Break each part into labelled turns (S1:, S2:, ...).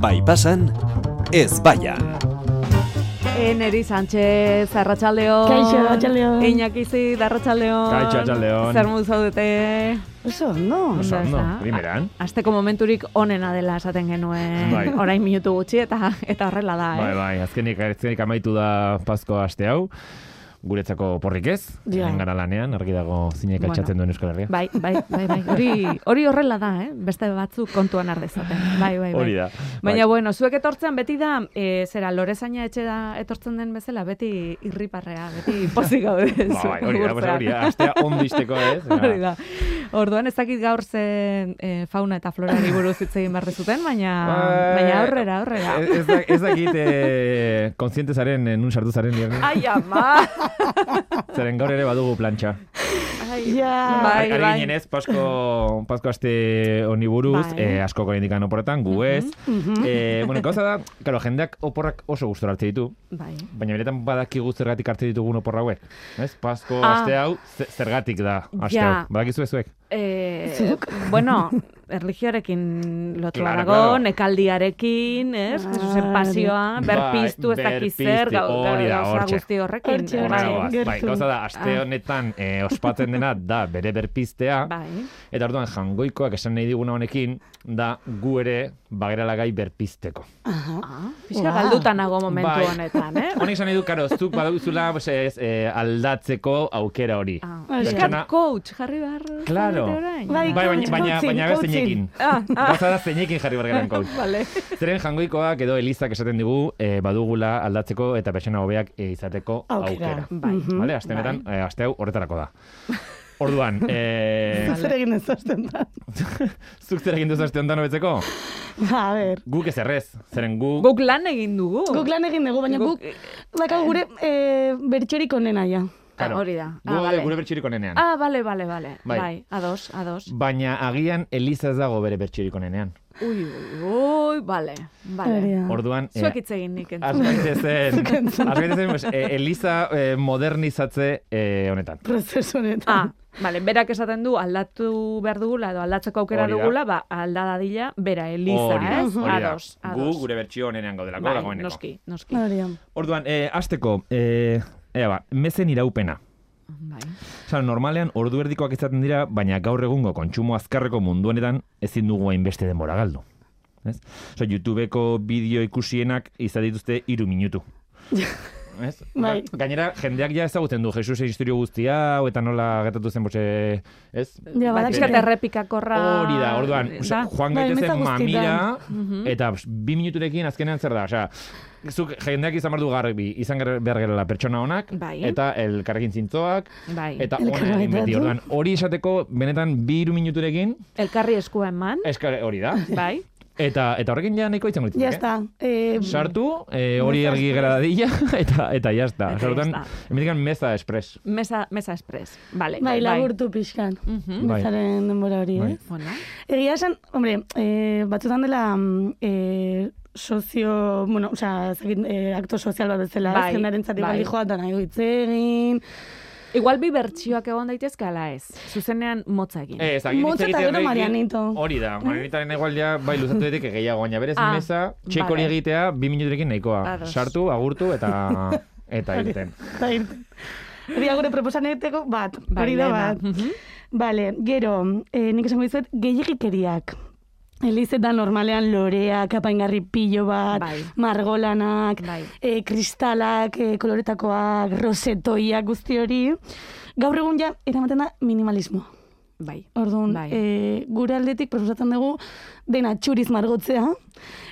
S1: Bai pasan, ez baian.
S2: Eneri Sánchez, arratsaldeon.
S3: Kaixo, arratsaldeon.
S2: Iñaki Zid, arratsaldeon.
S4: Kaixo, arratsaldeon.
S2: Zer modu zaudete?
S3: Oso, no?
S4: Oso
S2: Ondo,
S4: ondo,
S2: ez da?
S4: primeran.
S2: A- Asteko momenturik onena dela esaten genuen.
S4: Bai.
S2: Orain minutu gutxi eta eta horrela da,
S4: Bai,
S2: eh?
S4: bai, azkenik, azkenik amaitu da pazko aste hau. Guretzako porrik ez,
S3: Ja.
S4: hemen gara lanean, argi dago zinek
S2: Bueno.
S4: altxatzen duen Euskal Herria.
S2: Bai, bai, bai, bai. Hori, hori horrela da, eh? Beste batzuk kontuan ardezaten. Bai, bai, bai.
S4: Hori da.
S2: Baina, bueno, zuek etortzen beti da, e, zera, lorezaina etxe da etortzen den bezela, beti irriparrea, beti pozik gaude.
S4: Ba,
S2: zuek
S4: bai, hori da, pues,
S2: gurtzea.
S4: hori da, astea eh? ondo izteko ez.
S2: Hori da. Orduan ez dakit gaur ze eh, fauna eta florari buruz hitz egin behar dizuten, baina,
S4: Bai.
S2: baina aurrera, aurrera.
S4: Ez, ez, da- ez dakit, eh, kontziente zaren, eh, nun sartu zaren, Lierne?
S2: Ai, ama!
S4: zaren gaur ere badugu plantxa.
S2: Ai,
S3: Ja.
S2: Bai,
S4: Ari
S2: bai.
S4: ginenez, pasko, pasko aste honi buruz,
S2: Bai. Mhm,
S4: eh, asko korindikan oporretan, gu ez. eh, bueno, gauza da, claro, jendeak oporrak oso gustora hartze ditu.
S2: Bai.
S4: Baina benetan badakigu zergatik hartzen ditugun oporra hauek. Ez? Pasko
S2: Ah.
S4: aste hau ze- zergatik da aste
S2: Ja.
S4: hau. Badakizu zuek?
S2: Eh, bueno, erligioarekin lotua
S4: Claro,
S2: dago,
S4: claro.
S2: nekaldiarekin, ez?
S3: Claro.
S2: Jesusen pasioa,
S4: Bai,
S2: berpiztu ez dakiz zer,
S4: berpiztu,
S2: gau- gau-
S4: hori da,
S2: gauza
S4: hortxe.
S2: guzti horrekin.
S3: Hortxe,
S4: Horra
S3: hortxe.
S2: Bai,
S4: goaz. Bai,
S3: gertu.
S4: gauza da, aste
S2: Ah.
S4: honetan eh, ospatzen dena da bere berpiztea,
S2: bai.
S4: eta orduan jangoikoak esan nahi diguna honekin, da gu ere bagerala gai berpizteko.
S2: Ah, pixka
S3: Wow.
S2: galduta nago momentu
S4: Bai.
S2: honetan, eh?
S4: Honek esan nahi du, karo, zuk baduzula pues, ez, eh, aldatzeko aukera hori.
S2: Ah,
S3: Hoi da.
S2: pixkat coach jarri behar.
S4: Claro.
S2: zarete orain.
S3: Bai,
S4: Bai, baina, baina,
S3: Coaching,
S4: baina
S3: coaching.
S4: besteinekin.
S2: Ah, ah,
S4: Gauza da zeinekin jarri bargaran kau.
S2: vale.
S4: Zeren jangoikoak edo elizak esaten digu eh, badugula aldatzeko eta pertsona hobeak eh, izateko
S3: Aukera.
S4: aukera.
S2: Bai.
S4: Vale, aste honetan, eh, aste hau horretarako da. Orduan, eh,
S3: Zer egin ez hasten da.
S4: zuk zer egin duzu aste honetan hobetzeko?
S3: Ba, a ber.
S4: Guk ez errez, zeren gu...
S2: Guk lan egin dugu.
S3: Guk lan egin dugu, baina
S2: Guk-
S3: guk daka gure eh, bertxorik onena ja.
S4: Claro,
S2: Ah, hori da.
S4: Gu
S2: Ah, vale.
S4: gure bertxirik onenean.
S2: Ah, bale, bale, bale. Bai.
S4: Bai.
S2: ados, ados.
S4: Baina agian Eliza ez dago bere bertxirik onenean.
S2: Ui, ui, ui, bale,
S3: Hori
S2: bale.
S3: da.
S4: Orduan, Bai. eh,
S2: Ah. Zuek hitz egin nik entzun.
S4: azgaitezen, azgaitezen, pues, eh, Eliza eh, modernizatze eh, honetan.
S3: Prozesu honetan.
S2: Ah, bale, berak esaten du aldatu behar dugula edo aldatzeko aukera
S4: Hori da.
S2: dugula, ba, aldadadila, bera, Eliza,
S4: Hori da,
S2: ez?
S4: hori da.
S2: Ados,
S4: Gu
S2: ados.
S4: gure bertxio onenean gaudelako,
S2: bai,
S4: dagoeneko.
S2: noski, noski.
S3: Hori da.
S4: Orduan, eh, azteko, eh, ea ba, mezen iraupena.
S2: Bai.
S4: Osa, normalean ordu erdikoak izaten dira, baina gaur egungo kontsumo azkarreko munduanetan ezin dugu hainbeste denbora galdu. Ez? Osa, YouTubeko bideo ikusienak izan dituzte hiru minutu. Ez?
S3: Bai.
S4: Ga- Gainera, jendeak ja ezagutzen du Jesusen historio guztia, hau eta nola gertatu zen, bose, ez?
S2: Bai,
S3: Ja, badakit.
S2: pixka eta errepikakorra...
S4: Hori da, orduan,
S2: da.
S4: osea, joan
S3: Bai,
S4: gaitezen
S3: meza guztietan.
S4: mamira,
S2: Mhm.
S4: eta pss, bi minuturekin azkenean zer da, osea, zuk jendeak izan behar du garbi, izan ger- behar gerela pertsona honak,
S2: Bai.
S4: eta elkarrekin zintzoak,
S2: Bai.
S4: eta ona egin
S3: Elkarbaitatu.
S4: beti, orduan, hori esateko benetan bi hiru minuturekin,
S2: Elkarri eskua eman,
S4: eskare hori da,
S2: bai.
S4: eta, eta horrekin ja nahiko izango
S3: Ja
S4: litzateke.
S3: está. Eh,
S4: Sartu, eh, hori argi gera dadila, eta, eta jazta.
S2: Eta
S4: Eta orduan,
S2: ya
S4: hemendikan meza espres.
S2: Mesa, mesa express, bale.
S3: bai, laburtu pixkan.
S2: Mhm.
S4: Bai.
S3: Bezaren denbora hori,
S4: Bai.
S3: eh?
S2: Bueno,
S3: Egia esan, hombre, eh, batzutan dela mm, eh, sozio, bueno, osea, ez dakit, eh, akto sozial bat bezala,
S2: Bai,
S3: bai, jendaren zati
S2: bai.
S3: bai. bali joan, da nahi du hitz egin,
S2: igual bi bertsioak egon daitezke ala ez. Zuzenean motza egin.
S4: Eh, ez, agin hitz
S3: Motz eta
S4: egiten
S3: gero
S4: horrekin-
S3: Marianito.
S4: Hori da, Marianitaren igual ja, bai, luzatu daiteke gehiago, baina berez
S2: Ah,
S4: meza, txek hori
S2: vale.
S4: egitea, bi minuturekin nahikoa.
S2: Ados.
S4: Sartu, agurtu eta eta egiten.
S3: eta irten. Hori da gure proposaneteko bat,
S2: Bai,
S3: hori da
S2: lehena.
S3: bat.
S2: Mhm.
S3: Vale, gero, eh, nik esango dizuet, gehiagikeriak. Elizetan normalean loreak, apaingarri pilo bat,
S2: Bai.
S3: margolanak,
S2: Bai.
S3: eh, kristalak, eh, koloretakoak, rosetoiak, guzti hori. Gaur egun ja, eramaten da minimalismoa.
S2: Bai.
S3: Orduan,
S2: Bai.
S3: eh, gure aldetik proposatzen dugu dena txuriz margotzea.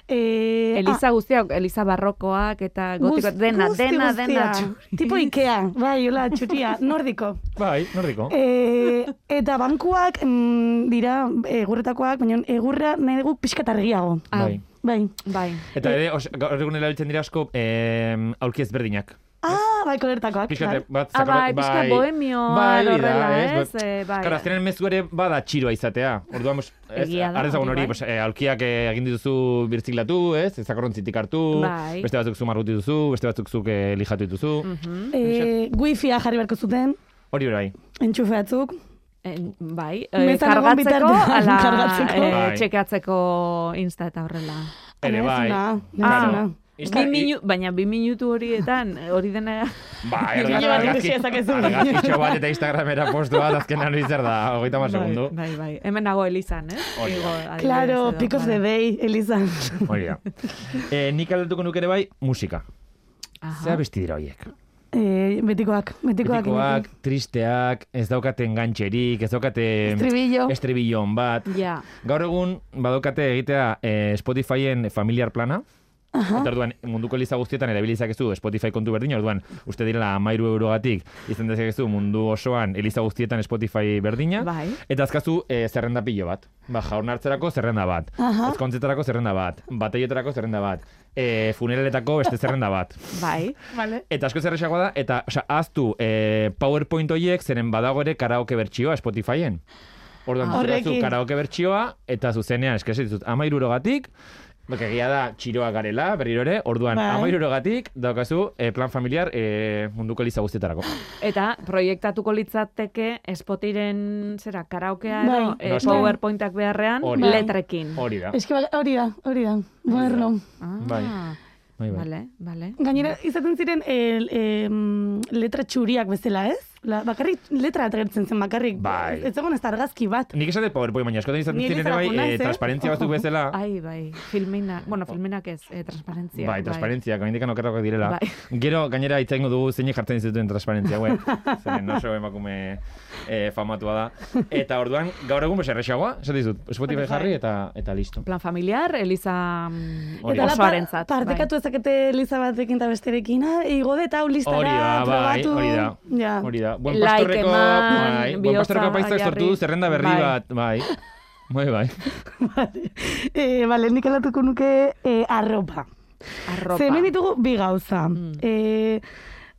S3: Eh,
S2: Eliza guztiak, Eliza barrokoak eta gotikoak,
S3: guz-
S2: dena,
S3: guzti
S2: dena,
S3: guztia.
S2: dena, txuri.
S3: Tipo Ikea, bai, hola, txuria, nordiko.
S4: Bai, nordiko.
S2: Eh,
S3: E, eta bankuak mm, dira egurretakoak, baina egurra nahi dugu pixka eta argiago.
S2: Ah,
S4: Bai.
S3: Bai.
S2: Bai.
S4: Eta ere, os- gaur egun erabiltzen dira asko eh, aurki ezberdinak.
S3: Ah, bai, koloretakoak.
S4: Piskate, bat,
S2: Ah, bai,
S4: zakarrak-
S2: pixka bohemio,
S4: bai, hori da,
S2: horrela,
S4: ez?
S2: ez? Eh, bai.
S4: Karo, azkenean mezu ere bada txiroa izatea. Orduan, pues, ez,
S2: Egia da,
S4: arrezagun
S2: hori bai.
S4: hori, pues, eh, aulkiak eh, egin dituzu birziklatu, ez? Zakorrontzitik hartu,
S2: Bai. Mhm.
S4: beste batzuk zu margutu dituzu, beste batzuk zuk eh, lijatu dituzu.
S3: bai. E, wifia jarri beharko zuten,
S4: Hori bai.
S3: entxufe batzuk.
S2: En, bai. Eh,
S3: Mezan egon
S2: kargatzeko,
S3: bitartean,
S2: ala,
S3: kargatzeko. Ah,
S2: eh,
S4: Bai.
S2: txekatzeko insta eta horrela.
S4: Ere
S3: Nahi
S4: bai.
S3: duzuna, nahi
S2: Ah.
S3: duzuna.
S2: Bi minu, baina bi minutu horietan, hori dena...
S4: Ba,
S2: Bai,
S3: Bideo
S4: ergaz-
S3: bat
S4: argazki-
S3: ikusi dezakezu.
S4: argazkitxo bat eta Instagramera postu bat azkenan hori zer da, hogeita mar segundu.
S2: Bai, bai, bai. Hemen nago Elizan, eh?
S4: Hori da.
S2: Igo, adibidez,
S3: Claro,
S2: edo,
S3: Pick of
S2: bada.
S3: the Bay, Eliza.
S4: Hori da. Eh, nik aldatuko nuke ere bai, musika.
S2: Aha.
S4: Zer abesti dira horiek?
S3: Eh, betikoak, betikoak.
S4: Betikoak, tristeak, ez daukaten gantxerik, ez daukate
S3: Tribillo.
S4: estribillon bat.
S2: Ja,
S4: Gaur egun badaukate egitea eh, Spotifyen familiar plana. Eta orduan, munduko eliza guztietan erabilizakezu Spotify kontu berdin, orduan, uste direla amairu eurogatik izan dezakezu mundu osoan eliza guztietan Spotify berdina.
S2: bai.
S4: Eta azkazu e, zerrenda pilo bat. Ba, jaunartzerako zerrenda bat.
S3: Aha.
S4: Ezkontzetarako zerrenda bat. Bateietarako zerrenda bat. E, funeraletako beste zerrenda bat.
S2: Bai,
S3: Vale.
S4: Eta asko zerrexagoa da, eta osea, aztu e, PowerPoint horiek zeren badago ere karaoke bertsioa Spotifyen. Orduan,
S2: Ah.
S4: ah,
S3: Horrekin.
S4: karaoke bertsioa, eta zuzenean eskasitut amairurogatik, Bekegia da, txiroa garela, berriro ere, orduan,
S3: Bai.
S4: amairurogatik, daukazu, e, plan familiar, e, munduko eliza guztietarako.
S2: eta proiektatuko litzateke espotiren, zera, karaokea edo,
S3: Bai.
S2: eh,
S4: Noski.
S2: powerpointak beharrean,
S4: Hori
S3: da.
S2: letrekin.
S4: Hori da.
S3: Ez que bai- hori da, hori da. Moderno.
S2: Ah,
S4: Bai. Bai, bai.
S2: Vale, vale.
S3: Gainera, izaten ziren el, em, letra txuriak bezala, ez? La, bakarrik letra atragertzen zen, bakarrik.
S4: Bai.
S3: Ez egon ez da argazki bat.
S4: Nik esaten PowerPoint, baina askotan izaten
S3: Ni
S4: ziren
S3: Elizara
S4: bai,
S3: joan naiz,
S4: eh,
S3: eh?
S4: transparentzia batzuk bezala.
S2: Ai, bai, filmina, bueno, filminak ez, eh, transparentzia.
S4: Ah. Bai, transparentzia, gaindikan okerrakoak
S2: Bai.
S4: direla. Gero, gainera, itzaingo dugu zeinek jartzen zituen transparentzia, hauek. Zeren oso emakume eh, famatua da. Eta orduan, gaur egun beserrexagoa, esaten dizut, Spotify jarri eta eta listo.
S2: Plan familiar, Eliza mm,
S4: Hori
S2: Hori.
S4: da.
S3: hala
S2: osoarentzat.
S3: pa- partekatu ezakete Eliza batekin eta besterekin, ah, igo dut hau listara,
S4: Hori da, bai,
S3: probatu.
S4: hori da.
S3: Ja.
S4: Hori da. Buen
S2: Like
S4: pastorreko,
S2: eman,
S4: bai, buen
S2: bihotza
S4: pastorreko apaizak sortu du
S2: jarri.
S4: zerrenda berri
S2: Bai.
S4: bat, bai. Bai, bai.
S3: Eh, vale, nik aldatuko nuke eh, arropa.
S2: bai. Arropa.
S3: Ze hemen ditugu bi gauza.
S2: Mm.
S3: Eh,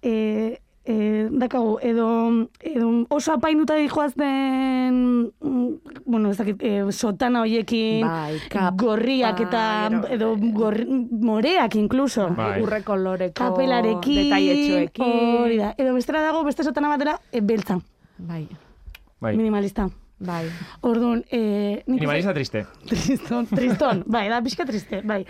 S3: eh, eh, dakagu, edo, edo oso apainduta dijoazten, mm, bueno, ez dakit, eh, sotana hoiekin,
S2: Bai, kap-
S3: gorriak
S2: bai,
S3: eta
S2: gero-
S3: edo gorri, moreak inkluso.
S4: Bai.
S2: Urre koloreko
S3: Kapelarekin,
S2: detailetxoekin.
S3: hori da. Edo bestera dago, beste sotana batera, e, beltza,
S2: Bai,
S4: bai.
S3: minimalista.
S2: bai.
S3: Orduan, eh, nik uste-
S4: Minimalista triste.
S3: Triston, triston, bai, da pixka triste, bai.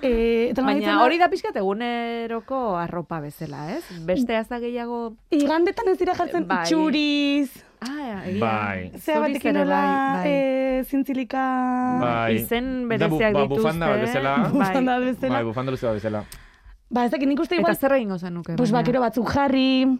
S3: E, eta nola ditzen
S2: Baina hori da pixkat eguneroko arropa bezela, ez? Beste
S3: Mm.
S2: ez da gehiago...
S3: Igandetan ez dira jartzen
S2: Bai.
S3: txuriz,
S2: Ah, egia.
S4: Bai.
S3: zea
S2: Zuriz
S3: batekin
S2: ere
S3: nola
S2: bai,
S3: eh, zintzilika...
S4: Bai.
S2: Izen
S4: Da bu-
S2: bereziak
S4: ba,
S2: dituzte.
S4: bufanda bat bezala.
S3: Bufanda
S2: Bai.
S4: Bai,
S3: bezala.
S4: bufanda luzea bezala.
S3: Ba, ez dakit nik uste
S2: Eta
S3: igual,
S2: zer egingo zenuke?
S3: pues ba,
S2: baina?
S3: bakero batzuk jarri,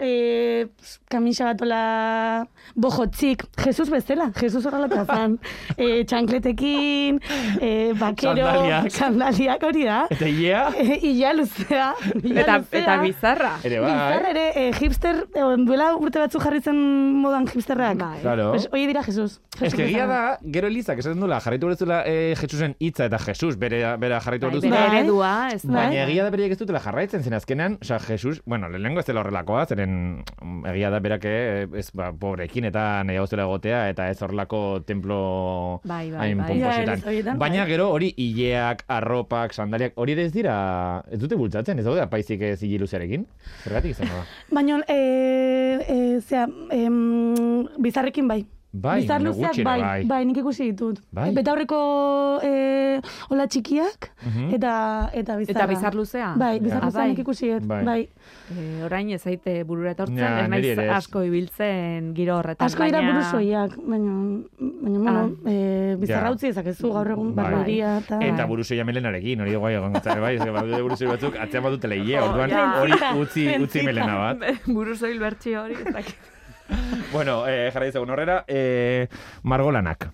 S3: eh, kamisa batola bojotzik, Jesus bezala, Jesus horrela plazan, eh, txankletekin, eh, bakero,
S4: Sandaliak.
S3: sandaliak hori da,
S4: Eta hilea,
S3: eh, ila luzea, ila
S2: Eta,
S3: luzea.
S2: eta bizarra.
S4: ere
S3: Bizarra
S4: bai.
S3: ere, eh, hipster, eh, duela urte batzu jarri zen modan hipsterrak.
S2: Bai.
S4: Claro.
S3: Pues, oie dira Jesus.
S4: Ez
S3: Jesus
S4: que egia
S3: bezala.
S4: da, gero Elizak esaten duela, jarraitu beretzula e, Jesusen hitza eta Jesus bere, bere jarraitu
S2: Bai, bere
S4: behar duzula.
S3: Bai.
S2: eredua, ez da.
S3: Bai.
S4: Baina egia da bereik ez dutela jarraitzen zen azkenean, osea, Jesus, bueno, lehenengo ez dela horrelakoa, zeren mm, egia da berak eh, ez ba, pobrekin eta nahi gauzela egotea eta ez horrelako templo
S2: Bai, bai,
S4: hain
S2: bai.
S4: pomposetan.
S3: Ja, ez horietan,
S4: Baina
S3: bai.
S4: gero hori hileak, arropak, sandaliak, hori ere ez dira, ez dute bultzatzen, ez daude apaizik ez hiluzearekin? Zergatik izango da.
S3: Baina, eh, eh, zera, em, bizarrekin bai.
S4: Bai,
S3: Bizar
S4: baina
S3: luzeak
S4: gutxi ere
S3: bai,
S4: bai.
S3: bai, nik ikusi ditut.
S4: Bai.
S3: Betaurreko eh, hola txikiak
S4: Mhm.
S3: eta, eta bizarra.
S2: Eta bizar luzea.
S3: Bai, bizar
S4: Ja.
S3: luzea
S2: Ah, bai.
S3: nik ikusi dut.
S4: Bai.
S3: Bai.
S2: E, orain ez zaite burura etortzen,
S4: Ja,
S2: ez
S4: niri
S2: naiz
S4: ere ez.
S2: asko ibiltzen giro horretan.
S3: Asko dira
S2: baina- Ah.
S3: buruz oiak, baina, baina, bueno, eh, bizarra
S4: Ja.
S3: utzi ezakezu gaur egun,
S4: Bai.
S3: barberia eta... eh,
S4: Eta buruzei melenarekin, hori guai egon gotzare bai, ez badute buruzei batzuk atzean badutela hile,
S3: Oh,
S2: Oh,
S4: orduan
S2: ja.
S4: hori utzi, utzi melena bat.
S2: Buruz oil bertxio hori, ez dakit.
S4: Bueno, eh, jarra dizagun horrera, eh, margolanak.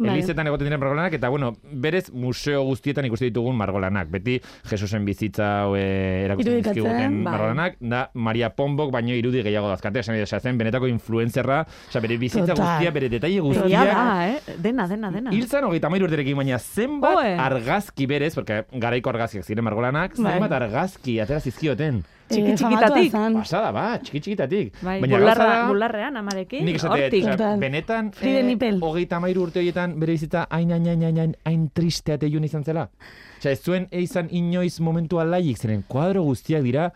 S3: Bai.
S4: Elizetan egoten diren margolanak, eta bueno, berez museo guztietan ikusi ditugun margolanak. Beti Jesusen bizitza hau, eh, erakusten
S3: Irudikatzen,
S4: dizkiguten
S2: bai.
S4: margolanak, da Maria Pombok baino irudi gehiago dazkate, esan esan zen, benetako influenzerra, oza, bere bizitza
S3: Total.
S4: guztia, bere detaile
S2: Egia
S4: guztiak,
S2: da, eh? Dena, dena, dena.
S4: Hiltzan hogeita mairu urterekin, baina zenbat
S2: Oe.
S4: argazki berez, porque garaiko argazkiak ziren margolanak,
S3: Bai.
S4: zenbat argazki atera zizkioten.
S2: txiki
S3: eh, famatua
S2: txikitatik.
S3: zan.
S4: Pasada, ba, txiki txikitatik.
S2: Bai,
S4: gauza
S2: bularra,
S4: da-
S2: bularrean amarekin,
S4: Nik esate,
S2: hortik.
S4: osea,
S3: Total.
S4: benetan, eh,
S3: Fride Nipel.
S4: hogeita amairu urte horietan bere bizitza hain, hain, hain, hain, hain, hain tristea teiun izan zela. Osea, ez zuen izan inoiz momentua laik, zeren kuadro guztiak dira,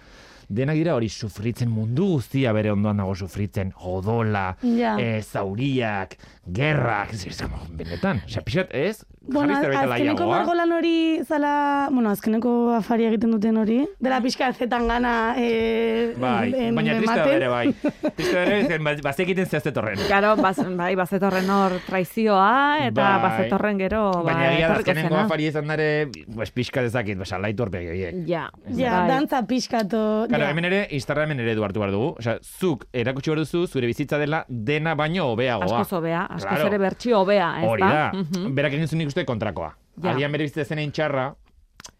S4: denak dira hori sufritzen mundu guztia bere ondoan dago sufritzen, jodola,
S3: Ja.
S4: eh, zauriak, gerrak, ez, ez, como, benetan, osea, pixat, ez,
S3: Bueno,
S4: Jarri zerbait
S3: azkeneko
S4: alaiagoa.
S3: margolan hori zala, bueno, azkeneko afari egiten duten hori, dela pixka zetan gana eh,
S4: Bai,
S3: em- em-
S4: baina triste
S3: ematen.
S4: bere, bai. Triste bere, zen, ba- bazekiten zehaztetorren.
S2: Garo, baz, bai, bazetorren hor traizioa, eta
S4: Bai.
S2: bazetorren gero, bai,
S4: Baina egia da
S2: etorriko
S4: azkenengo
S2: zena.
S4: afari izan dare, pues, pixka dezakit, basa, laitu horpegi horiek.
S2: Ja,
S3: Ja,
S2: bai.
S3: dantza pixkato.
S4: Claro,
S3: ja.
S4: hemen ere, Instagramen ere du hartu behar dugu. Osea, zuk erakutsi behar duzu, zure bizitza dela dena baino hobeagoa.
S2: Askoz hobea, askoz
S4: Claro.
S2: ere bertxio hobea, ez
S4: Hori
S2: ba?
S4: da,
S2: Mhm.
S4: berak egin zuen ikuste kontrakoa.
S2: Ja.
S4: Agian bere bizitza zenein txarra,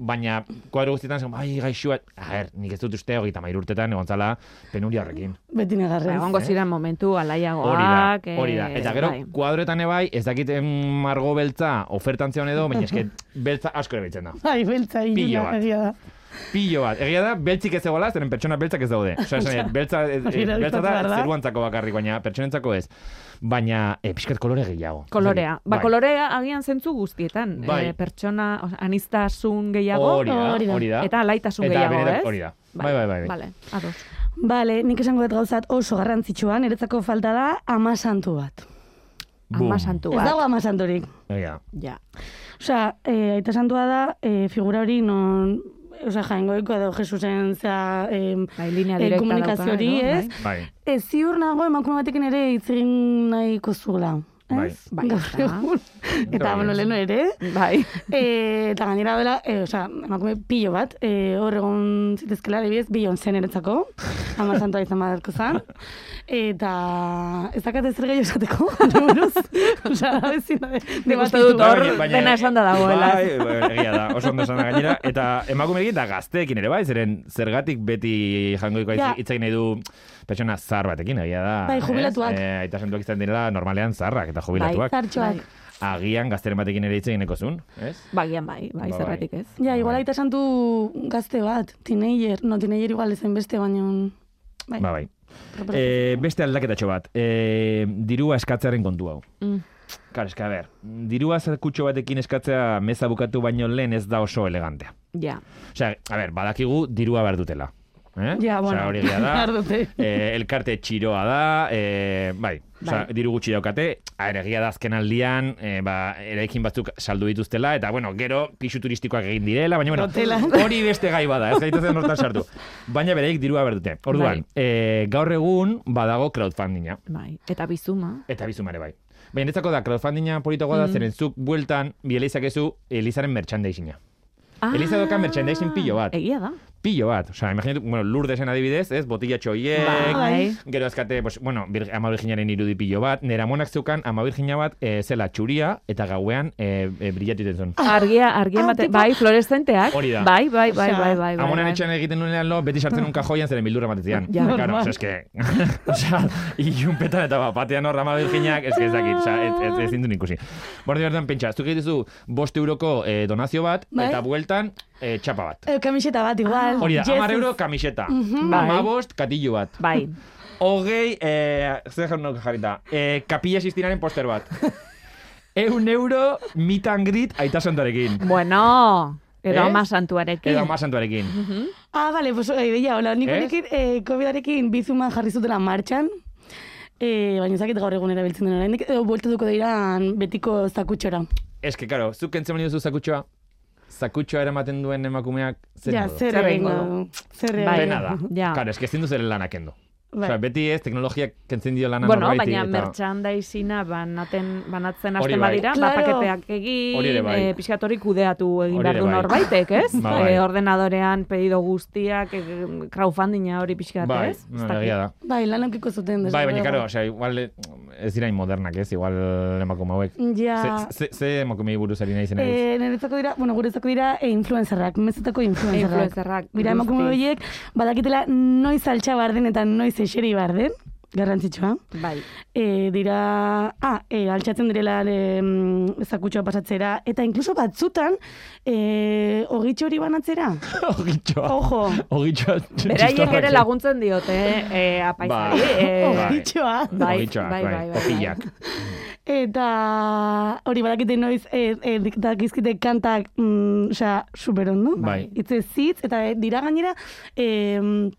S4: baina kuadro guztietan zen, ai, gaixua, a ber, nik ez dut uste hogeita mair urtetan, egon zala, penuria horrekin.
S3: Beti
S2: Ba,
S3: negarrez.
S2: Egongo
S4: eh?
S2: ziren momentu alaiagoak.
S4: Hori da, hori da.
S2: eh,
S4: Eta gero,
S2: bai.
S4: kuadroetan ebai, ez dakit em, margo beltza ofertan zeon edo, baina eske beltza asko ere biltzen da.
S3: Ai, Bai, beltza,
S4: Pilo
S3: iluna,
S4: bat.
S3: egia da.
S4: Pilo bat, egia da, beltzik ez egola, zeren pertsona beltzak ez daude. Osa, esan, beltza, ez-
S3: hori
S4: eh,
S3: da
S4: beltza
S3: aipatu behar
S4: da
S3: da.
S4: zeruantzako bakarrik, baina pertsonentzako ez. Baina, e, pixkat kolore gehiago.
S2: Kolorea. Ba,
S4: Bai.
S2: kolorea agian zentzu guztietan.
S4: Bai.
S2: Eh, pertsona, o sea, aniztasun gehiago.
S4: Hori da,
S3: Hori da.
S4: hori da.
S2: Eta alaitasun
S4: Eta
S2: gehiago,
S4: benetan
S2: ez?
S4: Hori da. Bai, bai, bai. bai.
S2: Vale, ados.
S3: Bale, nik esango dut gauzat oso garrantzitsua, niretzako falta da ama santu bat.
S4: Bum.
S2: Ama santu
S3: Ez
S2: bat.
S3: dago ama santurik.
S4: Hori bai, da.
S2: Ja.
S3: Osea, e, aita santua da, e, figura hori non, osea, jaingoiko edo Jesusen zea, em,
S2: Bai, linea
S3: eh,
S2: direkta
S3: komunikazio hori,
S2: dauka, edo,
S3: ez?
S4: Bai.
S3: Ez ziur nago emakume batekin ere hitz egin nahiko zula. Ez?
S2: Bai. Bai,
S3: Gaur
S2: eta-
S3: egun. Eta,
S4: Bai.
S3: bueno, lehenu ere.
S2: Bai.
S3: E, eta gainera dela, e, osea, emakume pilo bat, e, hor egon zitezkela, adibidez, bilon zen eretzako, ama santua izan badarko zan, eta ez dakat ez zer gehiago esateko, honi buruz, osea, ezin da,
S2: uste
S3: debatitu.
S2: dut hor- dena esan da dagoela.
S4: Bai, bai, egia da, oso ondo esan da gainera. Eta emakumeekin eta gazteekin ere bai, zeren zergatik beti jangoiko
S3: Ja.
S4: ja. itzak nahi du pertsona zar batekin, egia da.
S3: Bai,
S4: ez?
S3: jubilatuak.
S4: Eh, aita santuak izan direla normalean zarrak eta jubilatuak.
S3: Zartxoak.
S2: Bai.
S4: Agian gazteren batekin ere hitz egineko zuen, ez?
S2: Bagian bai, bai,
S4: Ba,
S2: zergatik
S4: bai.
S2: ez.
S3: Ja, igual
S4: Bai.
S3: aita santu gazte bat, teenager, no, teenager igual ezen beste, baino... Bai,
S4: Ba, bai.
S3: proposatzen.
S4: E, beste aldaketatxo bat, e, dirua eskatzearen kontu hau.
S2: Mm.
S4: Kar, eska, ber, dirua zakutxo batekin eskatzea meza bukatu baino lehen ez da oso elegantea.
S2: Ja.
S4: Osea, a ber, badakigu dirua behar dutela. Eh?
S3: Ja, bueno,
S4: Osea, hori egia da.
S3: behar dute.
S4: Eh, elkarte txiroa da, eh, bai, osea,
S2: Bai.
S4: diru gutxi daukate, aeregia da azken aldian, eh, ba, eraikin batzuk saldu dituztela, eta bueno, gero pisu turistikoak egin direla, baina
S3: Hotela.
S4: bueno, hori beste gai bada, ez gaitezen hortan sartu. Baina bereik dirua behar dute. Orduan, eh, gaur egun badago crowdfundinga.
S2: Bai. Eta bizuma.
S4: Eta bizumare bai. Baina netzako da, crowdfundinga politagoa
S2: Mm.
S4: da, zeren zuk bueltan, bieleizak ezu, Elizaren merchandisinga.
S2: Ah,
S4: Eliza doka merchandising pilo bat.
S2: Egia da.
S4: Pilo bat, osea, imaginatu, bueno, lurdesen adibidez, ez, botila txoiek,
S2: Bai.
S4: gero azkate, pues, bueno, bir, ama virginaren irudi pilo bat, nera monak zeukan, ama virgina bat, eh, zela txuria, eta gauean, eh, e, brillatu iten
S2: Argia, argia
S3: Ah,
S2: bate,
S3: tipo-
S2: bai, fluorescenteak.
S4: Hori da.
S2: Bai, bai, bai,
S3: Osea,
S2: bai, bai. bai,
S4: Amonan
S2: bai. Ah.
S4: etxean egiten nuenean lo, beti sartzen un kajoian zeren bildurra matezian.
S2: Ja.
S4: Claro,
S3: Normal.
S4: osea, eske, osea, ilunpetan eta bat, batean horra ama virginak, eske ez dakit, osea, ez, ez, ez dintun ikusi. Bordi bertan, pentsa, zuk egitezu, bost euroko eh, donazio bat,
S3: Bai.
S4: eta bueltan, eh, txapa bat.
S3: Eh, kamiseta bat, igual.
S4: Ah, Hori da,
S3: Jesus.
S4: amar euro kamiseta,
S2: Eh, Bai.
S4: amabost katillu bat.
S2: Bai.
S4: Hogei, eh, zer jarriko jarrita, eh, kapilla sistinaren poster bat. Eun euro meet and greet aita santarekin.
S2: Bueno, edo
S4: Ez?
S2: ama santuarekin.
S4: Edo ama santuarekin.
S2: Mm-hmm.
S3: Ah, bale, pues, eh, deia, hola, nik
S4: Ez?
S3: honekin, eh, COVID-arekin bizuma jarri zutela martxan, eh, baina ezakit gaur egun erabiltzen eh, den oraindik, edo bueltatuko dira betiko zakutxora.
S4: Ez que, karo, zuk entzen bani duzu zakutxoa, zakutxoa eramaten duen emakumeak zer
S3: Ja,
S4: modu?
S3: zer
S2: Zer
S3: egingo
S2: egingo
S3: du. Zer
S2: Bai.
S3: egingo
S4: Pena da.
S2: Ja.
S4: Karo, ez que ezin du zeren lana kendu.
S3: Bai.
S4: Osea, beti ez, teknologiak kentzen dio lana
S2: Bueno,
S4: norbaiti,
S2: baina
S4: eta-
S2: merchandisina banaten, banatzen
S4: Hori
S2: hasten
S4: bai.
S2: badira,
S3: Claro.
S2: ba, paketeak egin,
S4: Hori ere bai.
S2: eh, pixkat hori kudeatu egin
S4: Hori
S2: behar
S4: ere
S2: du
S4: bai.
S2: norbaitek, ez?
S4: Ba, bai.
S2: Eh, ordenadorean pedido guztiak, eh, crowdfundinga hori pixkat,
S4: Bai,
S2: ez?
S4: no,
S2: Ez dakit.
S4: egia da.
S3: Bai, lan aukiko zuten. desde
S4: Bai, baina,
S3: luego.
S4: karo, osea, igual eh, ez dira hain modernak, ez? Igual emakume hauek.
S3: Ja,
S4: Ze, ze, ze emakumei buruz ari nahi zinaiz?
S3: Eh, niretzako dira, bueno, guretzako dira e, influencerrak, mezetako influencerrak.
S2: Influencerrak,
S3: Mira, emakume
S2: guzti.
S3: horiek, badakitela noiz altxa behar den eta noiz eseri behar den, garrantzitsua.
S2: Bai.
S3: e, dira, ah, e, altxatzen direla e, zakutxoa pasatzera, eta inkluso batzutan, e, ogitxo hori banatzera.
S4: Ogitxoa.
S3: Ojo,
S4: Ogitxoa.
S2: Beraiek ere laguntzen diote, eh, apaizari.
S4: Ba.
S2: eh,
S4: Bai.
S3: ogitxoa.
S2: Bai,
S4: Ogitxoak,
S2: bai,
S4: bai,
S2: bai, bai, bai.
S4: Popillak.
S3: Eta hori badakite noiz, e, e, dik- dakizkite kantak, mm, osea, superondo.
S4: Bai.
S3: Itzez zitz, eta e, dira gainera, e,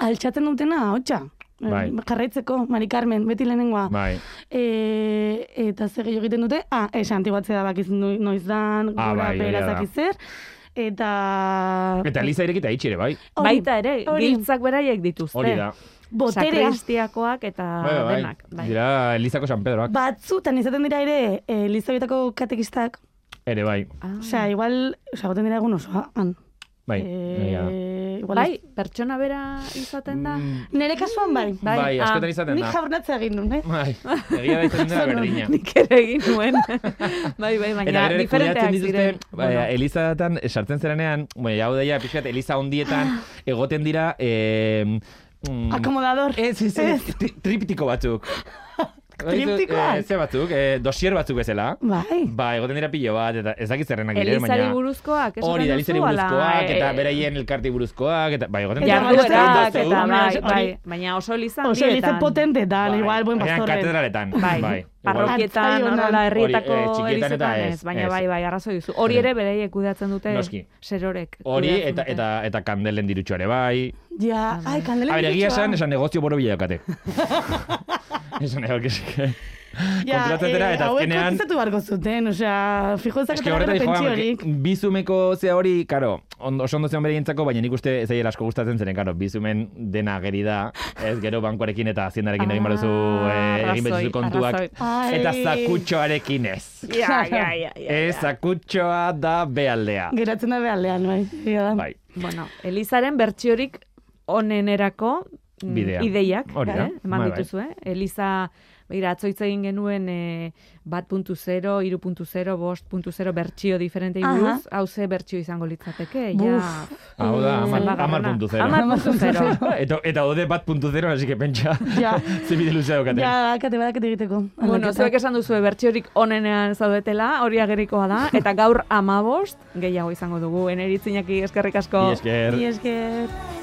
S3: altxatzen dutena, hotxa.
S4: Bai.
S3: Eh, Jarraitzeko, Mari Carmen, beti lehenengoa.
S4: Bai.
S3: E, eta zer gehiago egiten dute, ah, esan antibatzea bakiz nu- noiz dan,
S4: Ah,
S3: gora
S4: bai,
S3: behera
S4: egia da.
S3: zakiz zer, eta...
S4: Eta liza irekita itxi ere, bai.
S3: Hori,
S2: Baita ere,
S3: hori.
S2: giltzak beraiek dituzte.
S4: Hori da.
S3: Boterea,
S2: Sakristiakoak eta
S4: Bai, bai, bai.
S2: denak. Bai.
S4: Dira Elizako San Pedroak.
S3: batzutan izaten dira ere, e, Elizabetako katekistak,
S4: Ere, bai.
S2: Ah.
S3: osea, igual, osea, goten dira egun osoa, han.
S4: Bai. egia da.
S3: Eh, igual
S2: bai,
S3: ez-
S2: pertsona bera izaten da.
S4: Mm,
S3: Nere kasuan bai.
S4: Bai,
S2: Bai, ah,
S4: askotan izaten
S3: Nik
S4: da.
S3: jaurnatzea egin nuen, eh?
S4: Bai, egia da izaten da berdina.
S2: Nik ere egin nuen. bai, bai,
S4: Eta
S2: baina
S4: gero ere
S2: diferenteak
S4: kudeatzen dituzte,
S2: ziren.
S4: bai, elizatan, sartzen zeranean, bai, hau daia, pixkat, eliza ondietan, egoten dira, eh, mm,
S2: Ah,
S3: Akomodador.
S4: Ez, ez, ez, tri- triptiko batzuk.
S3: Triptikoak?
S4: Ez batzuk, eh, dosier batzuk bezala.
S3: Bai.
S4: Ba, egoten dira pilo bat, eta ez dakit zerrenak dire, baina...
S2: Elizari buruzkoak, esaten
S4: Hori da, elizari
S2: duzu, ala,
S4: buruzkoak, eta
S2: eh,
S4: beraien elkarti buruzkoak, eta... Ba, egoten
S3: Eta
S4: dira...
S2: Jarduerak
S3: Hori
S2: eta
S3: da,
S2: bai,
S3: hori-
S2: bai, baina oso eliza
S3: Oso elize
S2: handietan.
S3: potente da,
S4: Bai,
S3: igual, buen
S4: agian
S3: pastorren.
S4: Katedraletan,
S2: Bai,
S4: bai. igual.
S2: parroquietan,
S3: Antzaionan.
S2: horrela herrietako
S4: Hori, eh, txikietan eta
S2: elizetan
S4: ez,
S2: ez, baina
S4: ez.
S2: bai, bai, arrazoi duzu. Hori
S4: Ere.
S2: ere beraiek kudeatzen dute
S4: Noski.
S2: serorek.
S4: Hori
S2: kudeatzen
S4: eta,
S2: dute.
S4: eta, eta kandelen dirutxoare bai.
S3: Ja, ai, ba. kandelen
S4: A ber, egia
S3: bitxua.
S4: esan, esan negozio boro bila daukate. esan egon, kesik.
S3: Ja,
S4: kontratzen dira,
S3: eh,
S4: eta azkenean-
S3: Hauek kotizatu beharko zuten, osea, fijo
S4: Ez
S3: ezak
S4: que horretan joan, porque bizumeko zea hori, karo, ondo, oso ondo zeon bere gintzako, baina nik uste ez aiela asko gustatzen zeren, karo, bizumen dena geri da, ez gero bankuarekin eta haziendarekin egin baduzu,
S2: Ah,
S4: eh, egin
S2: arrazoi,
S4: baduzu kontuak,
S2: arrazoi.
S3: Ai.
S4: eta zakutxoarekin ez.
S2: Ja, ja, ja, ja,
S4: Ez,
S2: ja.
S4: zakutxoa da bealdea.
S3: Geratzen da behaldean, bai. egia da.
S4: Bai,
S2: Bueno, Elizaren bertsiorik onenerako mm,
S4: Bidea.
S2: ideiak,
S4: Hori da.
S2: eh, eman
S4: Bai, bai.
S2: dituzu, eh? Eliza, begira, atzoitz egin genuen eh, 1.0, 3.0, 5.0 bertsio diferente
S3: Aha.
S2: buruz, hau ze bertsio izango litzateke, ja.
S3: Buf.
S4: hau da,
S3: Eh,
S4: amar,
S2: Salvagarrena.
S4: amar puntu zero.
S2: Amar Mm. puntu zero.
S4: eta, eta ode bat puntu zero, así que pentsa,
S3: Ja.
S4: zebide luzea daukaten.
S3: Ja, kate badakete egiteko.
S2: Bueno,
S3: aldaketa.
S2: zuek esan duzu bertsiorik onenean zaudetela, hori agerikoa da, eta gaur amabost, gehiago izango dugu, eneritzinaki eskerrik asko.
S4: Mila esker.
S3: Mila esker.